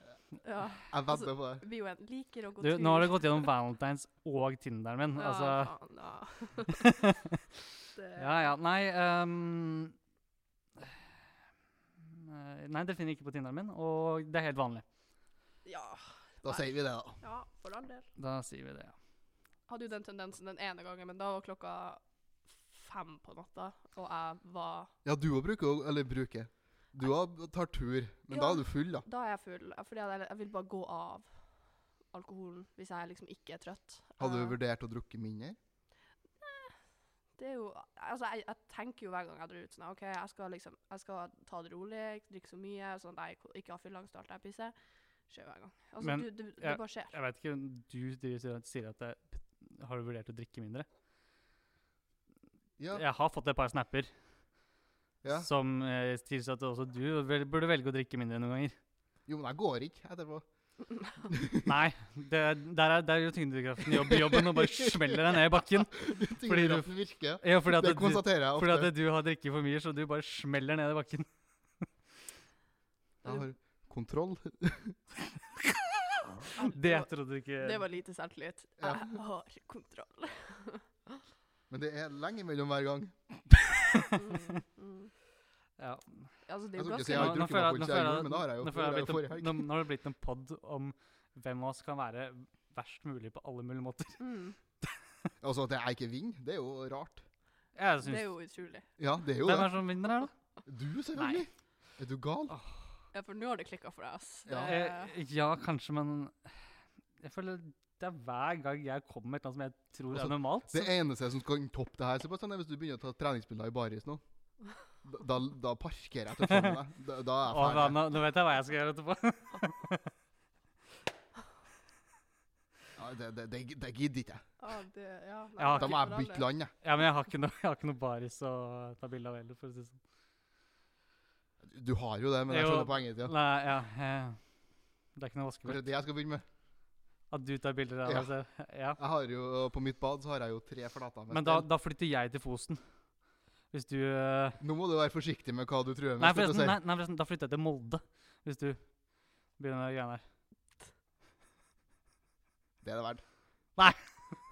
S3: Ja,
S1: Jeg vedder på det.
S3: vi jo en liker å gå
S2: Du,
S3: tur.
S2: nå har det gått gjennom Valentine's og Tinderen min.
S3: Ja,
S2: altså...
S3: faen, da. det,
S2: Ja, ja. Nei ehm, eh, Nei, det finner jeg ikke på Tinderen min, og det er helt vanlig.
S3: ja.
S1: Da sier vi det, da.
S3: Ja, for all del.
S2: Da sier vi det, ja.
S3: Hadde jo den tendensen den ene gangen, men da var klokka fem på natta, og jeg var
S1: Ja, du òg bruker å- Eller bruker. Du òg tar tur, men da
S3: Ja.
S1: er du full, da.
S3: Da er jeg full, fordi jeg, jeg vil bare gå av alkoholen hvis jeg liksom ikke er trøtt.
S1: Hadde du
S3: Eh,
S1: vurdert å drukke mindre?
S3: det er jo, altså jeg, jeg tenker jo hver gang jeg drar ut sånn, ok, jeg skal liksom, jeg skal ta det rolig, ikke drikke så mye, sånn at jeg ikke- ikke har fyllangst og alt det her pisset. Skjer hver gang. Altså,
S2: Men,
S3: du, du, det
S2: ja,
S3: bare skjer.
S2: Jeg vet ikke, du driver og sier at- sier at det, Har du vurdert å drikke mindre?
S1: Ja.
S2: Jeg har fått et par snapper
S1: ja.
S2: som eh, tilsier at også du vel, burde velge å drikke mindre noen ganger.
S1: Jo, men jeg går ikke etterpå.
S2: Nei, det, der, er, der gjør tyngdekraften jobb, jobben og bare smeller deg ned i bakken.
S1: Fordi du virker.
S2: Ja, fordi at
S1: Det
S2: du,
S1: konstaterer jeg
S2: fordi
S1: ofte.
S2: at du har drikket for mye, så du bare smeller ned i bakken.
S1: Jeg har kontroll.
S2: Det trodde du ikke
S3: Det var lite selvtillit.
S1: Ja.
S3: Jeg har kontroll.
S1: Men det er lenge mellom hver gang.
S3: Mm, mm.
S2: ja.
S3: Altså, det
S1: Jeg
S3: er jo
S1: skal ikke si
S3: ganske
S1: jeg har
S2: Nå- nå
S1: drukket
S2: føler
S1: meg
S2: jeg-
S1: full
S2: nå
S1: siden jeg gjorde,
S2: føler jeg-
S1: men det har jeg jo.
S2: Nå
S1: Det
S2: føler
S1: har jeg
S2: jeg det
S1: jo
S2: blitt
S1: forrige
S2: en-
S1: helg.
S2: nå- nå har det blitt en pod om hvem av oss kan være verst mulig på alle mulige måter.
S3: mm.
S1: Altså at jeg ikke vinner, det er jo rart.
S2: Jeg
S3: Det er
S2: synes,
S3: jo utrolig.
S1: Ja, det er jo
S2: Hvem er
S1: det.
S2: det som vinner her, da?
S1: Du, selvfølgelig. Er du gal?
S3: Ja, for nå har det klikket for deg, ass. Det,
S1: Ja.
S2: Eh, ja, kanskje, men Jeg føler det er hver gang jeg kommer med et eller annet som jeg tror
S1: Altså,
S2: er normalt.
S1: Det
S2: Så,
S1: eneste som skal toppe det her, Sebastian, er hvis du begynner å ta treningsbilder i baris nå. Da- Da, da parkerer jeg telefonen med deg. Da, da er
S2: Å,
S1: jeg
S2: da,
S1: ferdig.
S2: nå, nå vet jeg hva jeg skal gjøre etterpå.
S1: Ja, det, det, det, det gidder ikke jeg.
S3: ah, det, ja, nei,
S2: Eh, Ja,
S1: Da må jeg
S3: for all
S1: bytte
S3: del.
S1: land, jeg.
S2: Ja, Men jeg har ikke noe, jeg har ikke noe baris å ta bilde av heller, for å si det sånn.
S1: Du har jo det, men jeg
S2: Jo.
S1: skjønner poenget ditt. Ja.
S2: Nei, ja. eh, Det er ikke noe
S1: Kanskje
S2: vaskebart.
S1: det jeg skal begynne med.
S2: At du tar bilder av deg selv. Ja.
S1: Jeg har jo, På mitt bad så har jeg jo tre flater med
S2: Men da,
S1: stell.
S2: da flytter jeg til Fosen. Hvis du eh,
S1: Nå må du være forsiktig med hva du truer med.
S2: Nei,
S1: skal du
S2: forresten,
S1: si.
S2: nei, nei, forresten, da flytter jeg til Molde, hvis du begynner med de greiene her.
S1: Det er det verdt.
S2: Nei,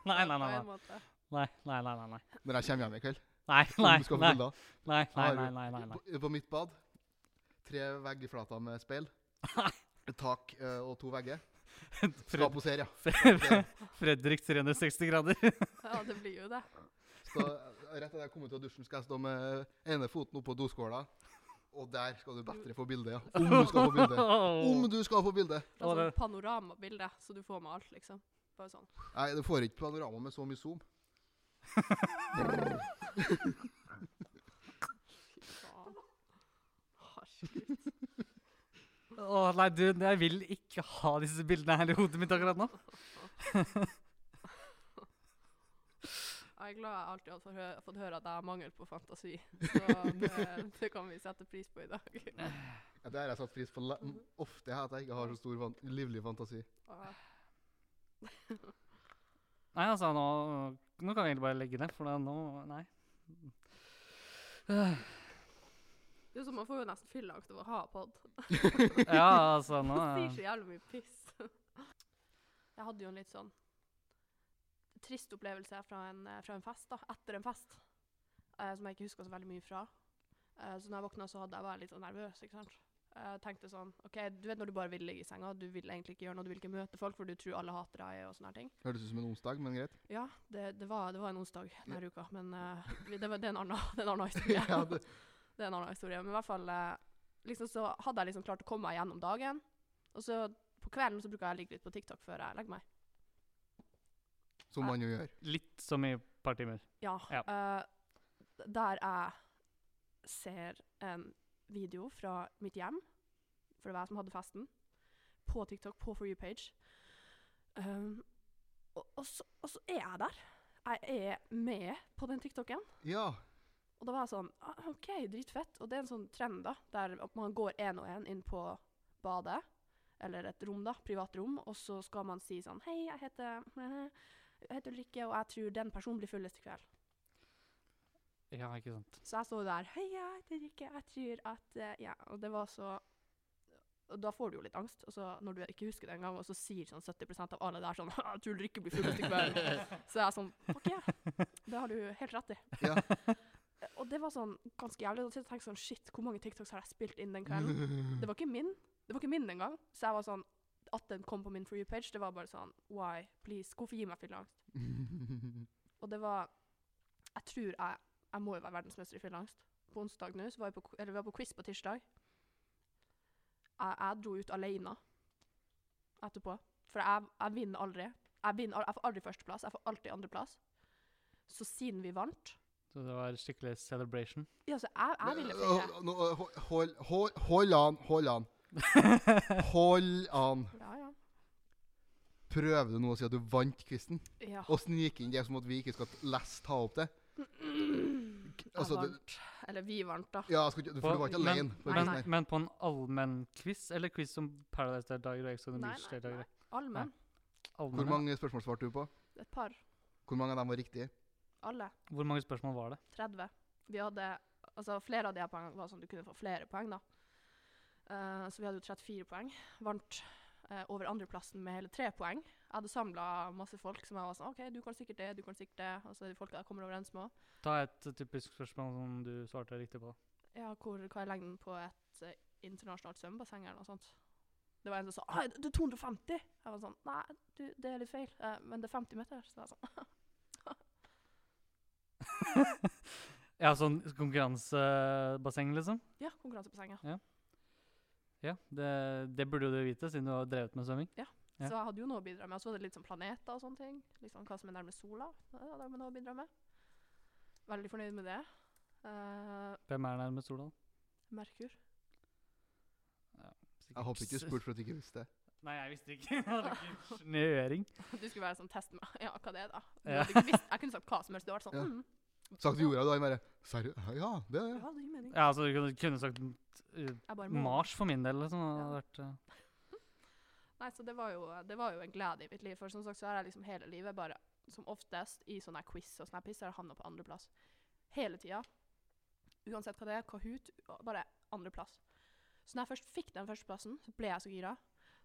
S2: nei, nei.
S3: På en
S2: Nei,
S3: måte.
S2: nei, nei. nei, nei, nei.
S1: Når jeg kommer hjem i kveld.
S2: Nei,
S1: om
S2: nei,
S1: du skal få
S2: nei,
S1: bilder.
S2: nei, nei,
S1: Har du-
S2: nei, nei, nei, nei.
S1: På, på mitt bad, tre veggflater med speil. Et tak eh, og to vegger. Skal
S2: Fred,
S1: posere, ja.
S2: Fred, Fredrik 360 grader.
S3: Ja, det blir jo det.
S1: Så eh, rett etter jeg kommer ut av dusjen, skal jeg stå med ene foten oppå doskåla. Og der skal du bedre få bilde, ja. Om du skal få bilde. Om du skal få bilde!
S3: Det er
S2: Å,
S3: sånn
S2: det-
S3: panoramabilde, så du får med alt, liksom. Bare sånn.
S1: Nei, du får ikke panorama med så mye zoom.
S3: Fy faen. Herregud.
S2: Å, nei, du, jeg vil ikke ha disse bildene her i hodet mitt akkurat nå.
S3: Jeg er glad jeg alltid har fått hø- fått høre at jeg har mangel på fantasi. Så det, det kan vi sette pris på i dag.
S1: Ja, det har jeg satt pris på le- m- ofte, jeg, at jeg ikke har så stor fan livlig fantasi.
S3: Ah,
S2: Nei, altså, nå, nå kan vi egentlig bare legge ned, for da- nå Nei. Øh,
S3: Det er som Man får jo nesten fylleangst av å ha pod.
S2: Ja, altså, nå
S3: Man sier
S2: er-
S3: så jævlig mye piss. Jeg hadde jo en litt sånn trist opplevelse fra en, eh, fra en fest, da. Etter en fest. Eh, som jeg ikke husker så veldig mye fra. Eh, så når jeg våkna, så hadde jeg vært litt sånn nervøs. ikke sant? Eh, tenkte sånn OK, du vet når du bare vil ligge i senga, du vil egentlig ikke gjøre noe, du vil ikke møte folk, for du tror alle hater deg og sånne her ting.
S1: Hørtes ut som en onsdag, men greit.
S3: Ja, det, det, var, det var en onsdag denne uka, men eh, vi- det, var, det, er en annen, det er en annen historie.
S1: Ja,
S3: det.
S1: det-
S3: er en annen historie. Men i hvert fall eh, liksom så hadde jeg liksom klart å komme meg gjennom dagen. Og så på kvelden så bruker jeg å ligge litt på TikTok før jeg legger meg.
S1: Som man jo gjør.
S2: litt som i et par timer.
S3: Ja.
S2: Ja.
S3: eh, d- der jeg ser en video fra mitt hjem, for det var jeg som hadde festen, på TikTok, på For you-page. Um, Og, og, så, og så er jeg der. Jeg er med på den TikToken.
S1: Ja.
S3: Og da var jeg sånn ah, OK, dritfett. Og det er en sånn trend, da, der at man går én og én inn på badet, eller et rom, da, privat rom, og så skal man si sånn Hei, jeg heter jeg heter Ulrikke, og jeg tror den personen blir fullest i kveld.
S2: Ja, ikke sant.
S3: Så jeg sto der Hei, jeg heter Ulrikke, jeg tror at eh, Ja. Og det var så og Da får du jo litt angst, og så når du ikke husker det engang, og så sier sånn 70 av alle der sånn «Jeg tror Ulrikke blir fullest i kveld. så jeg er sånn OK, det har du helt rett i.
S1: Ja.
S3: Og det var sånn ganske jævlig. Og så tenkte jeg sånn Shit, hvor mange TikToks har jeg spilt inn den kvelden? Det var ikke min. Det var ikke min engang. Så jeg var sånn At den kom på min for you-page, det var bare sånn Why? Please. Hvorfor gi meg fylleangst? Og det var Jeg tror jeg Jeg må jo være verdensmester i fylleangst. På onsdag nå, så var jeg på, eller vi var på quiz på tirsdag. Jeg, jeg dro ut alene etterpå. For jeg, jeg vinner aldri. Jeg, vinner, al- jeg får aldri førsteplass, jeg får alltid andreplass. Så siden vi vant
S2: Så det var skikkelig celebration.
S3: Ja, så jeg, jeg ville feire.
S1: Nå- nå- hold- Hold hold- hold an, hold an. Hold an.
S3: Ja, ja.
S1: Prøver du nå å si at du vant quizen?
S3: ja.
S1: Og snike inn det som at vi ikke skal lest ta opp det?
S3: Mm.
S1: Altså,
S3: jeg
S1: du,
S3: vant. Eller vi vant, da.
S1: ja, jeg skulle, ikke- for du var ikke
S2: Men-
S1: alene. på
S2: Men,
S1: quizen
S3: nei.
S1: her.
S2: men på en allmenn quiz, eller quiz som Paradise-deltaker og Ex on the
S3: Nei, nei,
S2: Beach-deltaker?
S3: nei. Allmenn.
S1: Hvor
S2: Allmenn, ja.
S1: mange spørsmål svarte du på?
S3: Et par.
S1: Hvor mange av dem var riktige?
S3: Alle.
S2: Hvor mange spørsmål var det?
S3: 30. Vi hadde Altså, flere av de her poengene var sånn du kunne få flere poeng, da. Eh, så vi hadde jo 34 poeng. Vant eh, over andreplassen med hele tre poeng. Jeg hadde samla masse folk som jeg var sånn OK, du kan sikkert det, du kan sikkert det. Og så er det folk jeg kommer overens med. også.
S2: Ta et typisk spørsmål som du svarte riktig på.
S3: Ja, hvor, hva er lengden på et eh, internasjonalt svømmebasseng eller noe sånt? Det var en som sa «Ai, det er 250! Jeg var sånn Nei, du, det er litt feil. Eh, men det er 50 meter. Så jeg var sånn
S2: Ja, sånn konkurransebasseng, liksom?
S3: Ja, konkurransebasseng, ja.
S2: Ja, det, det burde jo du vite, siden du har drevet med svømming. Ja.
S3: Så jeg hadde jo noe å bidra med. Og så var det litt sånn planeter og sånne ting. Liksom Hva som er nærmest sola. Det hadde jeg noe å bidra med. Veldig fornøyd med det. Eh,
S2: Hvem er nærmest Soldal?
S3: Merkur.
S1: Jeg håper ikke du spurte for at du ikke visste det.
S2: Nei, jeg visste ikke. Jeg hadde ikke snøring.
S3: Du skulle være sånn test med Ja, hva det er, da? Du
S2: Ja.
S3: hadde ikke visst, jeg kunne sagt hva som helst. Du hadde vært sånn
S1: Ja.
S3: mm,
S1: Sagt du gjorde det, og han bare Serr? Ja, det er det.
S3: Ja, det gir mening.
S2: Ja, altså, du kunne, kunne sagt uh,
S3: Jeg bare må.
S2: Mars for min del, liksom. Hadde vært, uh,
S3: Nei, så det var, jo, det var jo en glede i mitt liv. For som sagt så har jeg liksom hele livet bare som oftest i sånne her quiz og sånne her piss, har jeg havna på andreplass. Hele tida. Uansett hva det er, Kahoot, bare andreplass. Så når jeg først fikk den førsteplassen, så ble jeg så gira.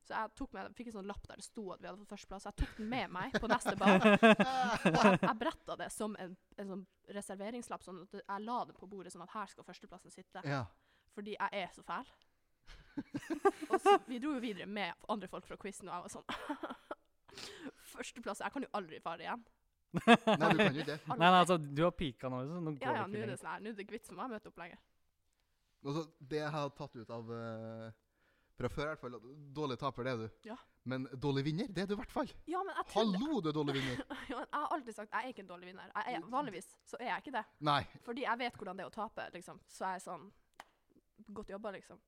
S3: Så jeg tok med, fikk en sånn lapp der det sto at vi hadde fått førsteplass. Jeg tok den med meg på neste ball. Og jeg, jeg bretta det som en, en sånn reserveringslapp, sånn at jeg la det på bordet sånn at her skal førsteplassen sitte.
S1: Ja.
S3: Fordi jeg er så fæl. og så, vi dro jo videre med andre folk fra quizen, og jeg var sånn Førsteplass Jeg kan jo aldri fare igjen.
S1: Nei, du kan jo ikke det.
S2: Nei, nei, altså, du har pika nå, liksom. Nå går
S3: Ja, ja,
S2: det
S3: nå er
S2: ikke
S3: det
S2: lenger.
S3: sånn her. Nå er det ikke vits for meg å møte opp lenger.
S1: Altså, det jeg har tatt ut av eh, fra før, i hvert fall at Dårlig taper, det er du.
S3: Ja.
S1: Men dårlig vinner, det er du i hvert fall.
S3: Ja, men jeg trodde
S1: Hallo, du er dårlig vinner.
S3: ja, men Jeg har alltid sagt jeg er ikke en dårlig vinner. Jeg er, vanligvis så er jeg ikke det.
S1: Nei.
S3: Fordi jeg vet hvordan det er å tape, liksom. Så jeg er sånn Godt jobba, liksom.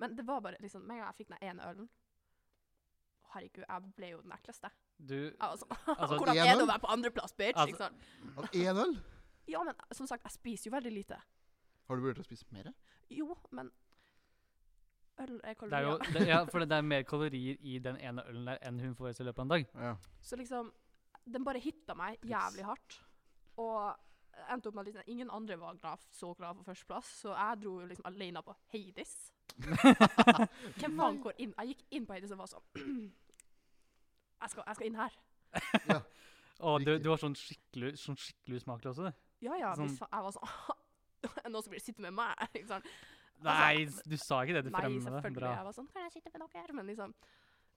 S3: Men det var bare liksom Med en gang jeg fikk den ene ølen Herregud, jeg ble jo den ekleste.
S2: Du,
S3: Jeg var sånn
S2: Altså,
S3: Hvordan
S1: en
S3: er det
S1: øl?
S3: å være på andreplass, bitch?
S2: Altså-
S3: ikke sant?
S1: Av én øl
S3: Ja, men som sagt, jeg spiser jo veldig lite.
S1: har du vurdert å spise mer?
S3: Jo, men øl er
S2: det er jo,
S3: kalorier.
S2: det, ja, for det er mer kalorier i den ene ølen der enn hun får i seg i løpet av en dag.
S1: Ja.
S3: Så liksom, den bare hitta meg jævlig hardt. Og jeg endte opp med at liksom, ingen andre var glad, så glad for førsteplass, så jeg dro jo liksom alene på Hades. Hvem faen går inn? Jeg gikk inn på Hades og var sånn jeg skal, jeg skal inn her.
S2: Og du,
S1: Riktig.
S2: du har sånn skikkelig, sånn skikkelig usmakelig også, du.
S3: Ja, ja.
S2: Sånn-
S3: Hvis fa- jeg var sånn Nå skal dere sitte med meg. Ikke sant?
S2: Nei, du sa ikke det. Du
S3: Altså, Nei,
S2: fremma det.
S3: selvfølgelig.
S2: Bra.
S3: Jeg var sånn Kan jeg sitte med dere? Men liksom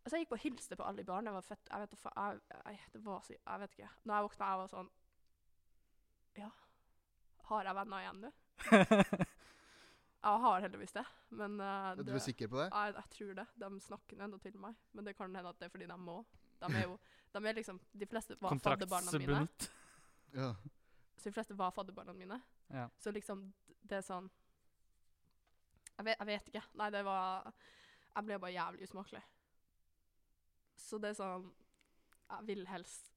S3: Så jeg gikk på hilste på alle i baren. Jeg var fett Jeg vet da fa- jeg, jeg, Det var så Jeg vet ikke. Når jeg våkna, jeg var sånn Ja. Har jeg venner igjen nå? Jeg har heldigvis det, men eh,
S1: Er du
S3: det,
S1: sikker på det?
S3: jeg, jeg tror det. De snakker ennå til meg. Men det kan hende at det er fordi de må. De er jo de er liksom, De fleste var fadderbarna mine.
S2: Kontraktsbundet.
S1: Ja.
S3: Så de fleste var fadderbarna mine.
S2: Ja.
S3: Så liksom, d- det er sånn jeg vet, jeg vet ikke. Nei, det var Jeg ble bare jævlig usmakelig. Så det er sånn Jeg vil helst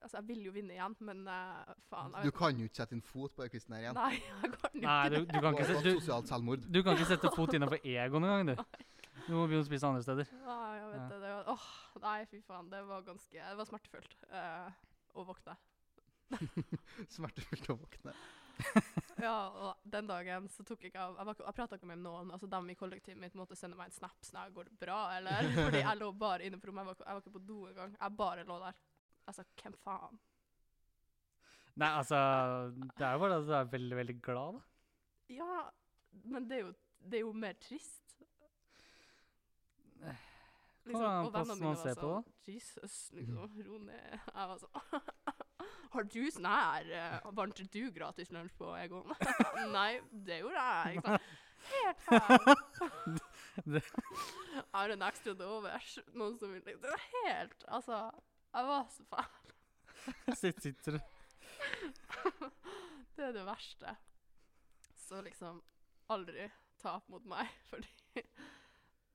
S3: Altså, jeg vil jo vinne igjen, men eh, faen jeg
S1: Du
S3: vet-
S1: kan jo ikke sette en fot på den quizen her igjen.
S3: Nei, jeg kan jo
S2: Nei,
S3: ikke
S2: du,
S3: det.
S2: du, kan
S1: Du har
S2: ikke, se-
S1: gått
S2: du,
S1: sosialt selvmord.
S2: du kan ikke sette fot innenfor egoen engang, du. Du må begynne å spise andre steder.
S3: Nei, jeg vet
S2: Ja.
S3: det. det var, åh, nei, fy faen. Det var ganske Det var smertefullt eh, å våkne.
S1: Smertefullt å våkne.
S3: Ja, og den dagen så tok jeg ikke av Jeg, var ikke- jeg prata ikke med noen. Altså, dem i kollektivet mitt måtte sende meg en snap sånn her, 'Går det bra?' eller Fordi jeg lå bare inne på rommet. Jeg var, ikke- jeg var ikke på do engang. Jeg bare lå der. Altså, hvem faen?
S2: Nei, altså, det er jo bare at du er veldig, veldig glad, da.
S3: Ja, men det er jo, det er jo mer trist. Liksom,
S2: an
S3: og
S2: på
S3: vennene
S2: hvordan
S3: mine
S2: man ser
S3: var
S2: på Mm.
S3: sånn, Jesus, liksom, ro ned. Jeg var sånn Har du sånn her eh, Vant du gratis lunsj på Egon? Nei, det gjorde jeg. Ikke sant? Helt feil. Jeg har en ekstra til overs. Noen som vil Det var helt Altså, jeg var så faen.
S2: Sitt- Sitter du
S3: Det er det verste. Så liksom aldri tap mot meg, fordi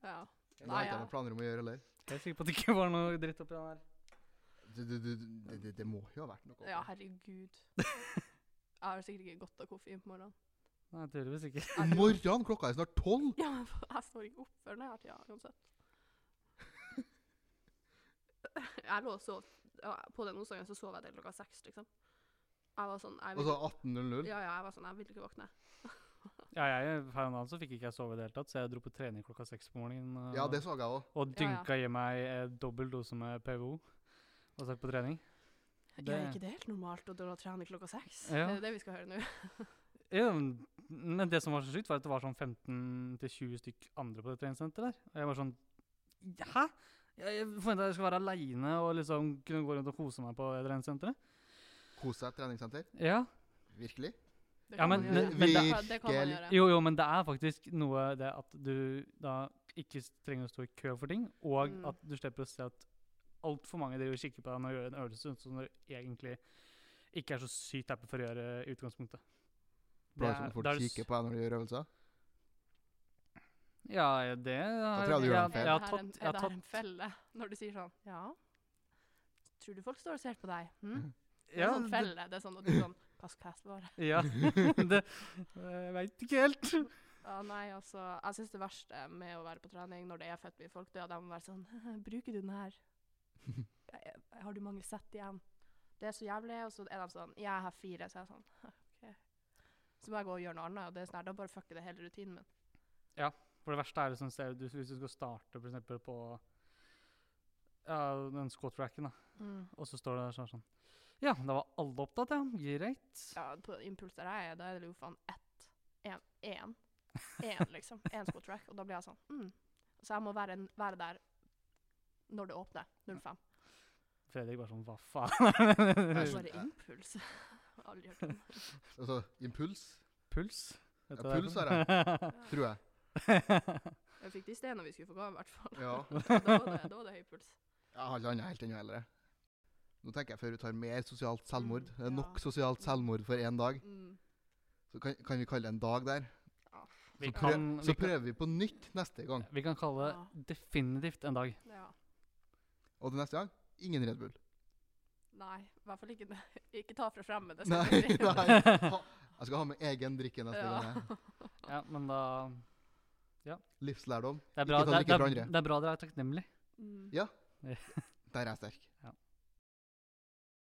S3: Ja.
S1: Det har ikke
S3: Nei,
S1: jeg
S3: ja.
S1: noen planer om å gjøre heller.
S2: Jeg er sikker på at det ikke var noe dritt oppi den her.
S1: Det, det, det, det, det, det må jo ha vært noe.
S3: Ja, herregud. Jeg har sikkert ikke godt av koffein på morgenen.
S2: Nei, tydeligvis ikke.
S1: Om morgenen, klokka er snart tolv.
S3: Ja, men jeg står ikke opp før denne tida uansett. Jeg lå og sov ja, På den onsdagen så sov jeg til klokka seks, liksom. Jeg var sånn jeg
S1: Og
S3: vil,
S1: så 18.00.
S3: Ja, ja, jeg var sånn Jeg vil ikke våkne.
S2: Ja, jeg, her om dagen så fikk ikke jeg sove i det hele tatt, så jeg dro på trening klokka seks på morgenen. og-
S1: Ja, det så jeg òg.
S2: Og
S3: Ja, ja.
S2: dynka i meg eh, dobbel dose med PVO og stakk på trening.
S3: Ja,
S2: Det-
S3: er ikke det helt normalt å dra og trene klokka seks?
S2: Ja.
S3: Det er det vi skal høre nå.
S2: Ja, men- men det som var så sykt, var at det var sånn 15-20 stykk andre på det treningssenteret der. Og jeg var sånn Hæ? Jeg, jeg forventa jeg skulle være aleine og liksom kunne gå rundt og kose meg på det treningssenteret.
S1: Kos deg, treningssenter.
S2: Ja.
S1: Virkelig.
S3: Det
S2: Ja,
S3: kan
S2: men-
S3: man
S2: men-
S3: gjøre.
S2: men
S3: Ja,
S1: det-
S3: det kan man gjøre.
S2: Jo, jo, men det er faktisk noe det at du da ikke s- trenger å stå i kø for ting, og
S3: Mm.
S2: at du slipper å se at altfor mange driver og kikker på deg når du gjør en øvelse sånn som du egentlig ikke er så sykt happy for å gjøre i utgangspunktet. Det
S1: Plager som når
S2: er-
S1: sånn folk
S2: da er det s-
S1: kikker på deg når du gjør øvelser.
S2: Ja, ja, det har
S1: tror jeg du gjør en
S2: jeg,
S1: feil.
S2: jeg har
S3: Er det her en-
S2: tatt, jeg har
S3: er det her en
S2: tatt
S3: felle når du sier sånn Ja, tror du folk står og ser på deg? Hm? Det er
S2: ja,
S3: sånn
S2: det-
S3: felle. Det er sånn at du sånn Hva skal jeg svare?
S2: Ja, det Jeg veit ikke helt.
S3: Ja, nei, altså, jeg syns det verste med å være på trening når det er fett mye folk, det er at de må være sånn Bruker du den her? Jeg- jeg- Har du mange sett igjen? Det er så jævlig. Og så er de sånn Jeg har fire, så jeg er sånn OK. Så må jeg gå og gjøre noe annet, og det er sånn her, da bare fucker det hele rutinen min.
S2: For det verste er liksom, ser du, hvis du skal starte for eksempel på ja, den squat-racken, da,
S3: Mm.
S2: og så står det der sånn sånn Ja, da var alle opptatt, ja. Greit.
S3: Ja, på impuls der jeg er, da er det jo faen ett. Én. Én, én liksom. Én squat rack. Og da blir jeg sånn mm. Så jeg må være, en, være der når det åpner. 05.
S2: Fredrik bare sånn Hva faen?
S3: Det er bare impuls. Aldri hørt om.
S1: Altså, impuls,
S2: Puls? Vet
S1: Ja,
S2: du liksom? hva
S1: puls
S2: for
S1: er
S2: noe?
S1: tror jeg.
S3: Jeg fikk de stenene vi skulle få gave, i hvert fall.
S1: Ja.
S3: da, var det, da var det høy puls.
S1: Jeg har ikke annet helt ennå heller. jeg. Nå tenker jeg før du tar mer sosialt selvmord.
S3: Mm,
S1: Det er nok
S3: ja.
S1: sosialt selvmord for én dag.
S3: Mm.
S1: Så kan, kan vi kalle det en dag der.
S2: vi,
S1: Så, prøv,
S2: kan,
S1: så
S2: vi, kan,
S1: prøver vi på nytt neste gang.
S2: vi kan kalle
S3: Ja.
S2: det definitivt en dag.
S3: Ja.
S1: Og til neste gang ingen Red Bull.
S3: Nei, i hvert fall ikke, ikke ta fra fremmede. skal
S1: Nei,
S3: jeg si.
S1: nei. Ha, jeg skal ha med egen drikke neste
S3: Ja.
S1: gang. jeg.
S2: Ja, men da
S1: Livslærdom.
S2: Det er
S1: Ikke
S2: bra,
S1: ta
S2: det, er-
S1: drikke fra
S2: det, er-
S1: andre.
S2: det er bra dere er takknemlige.
S3: Mm.
S1: Ja. Der er jeg sterk.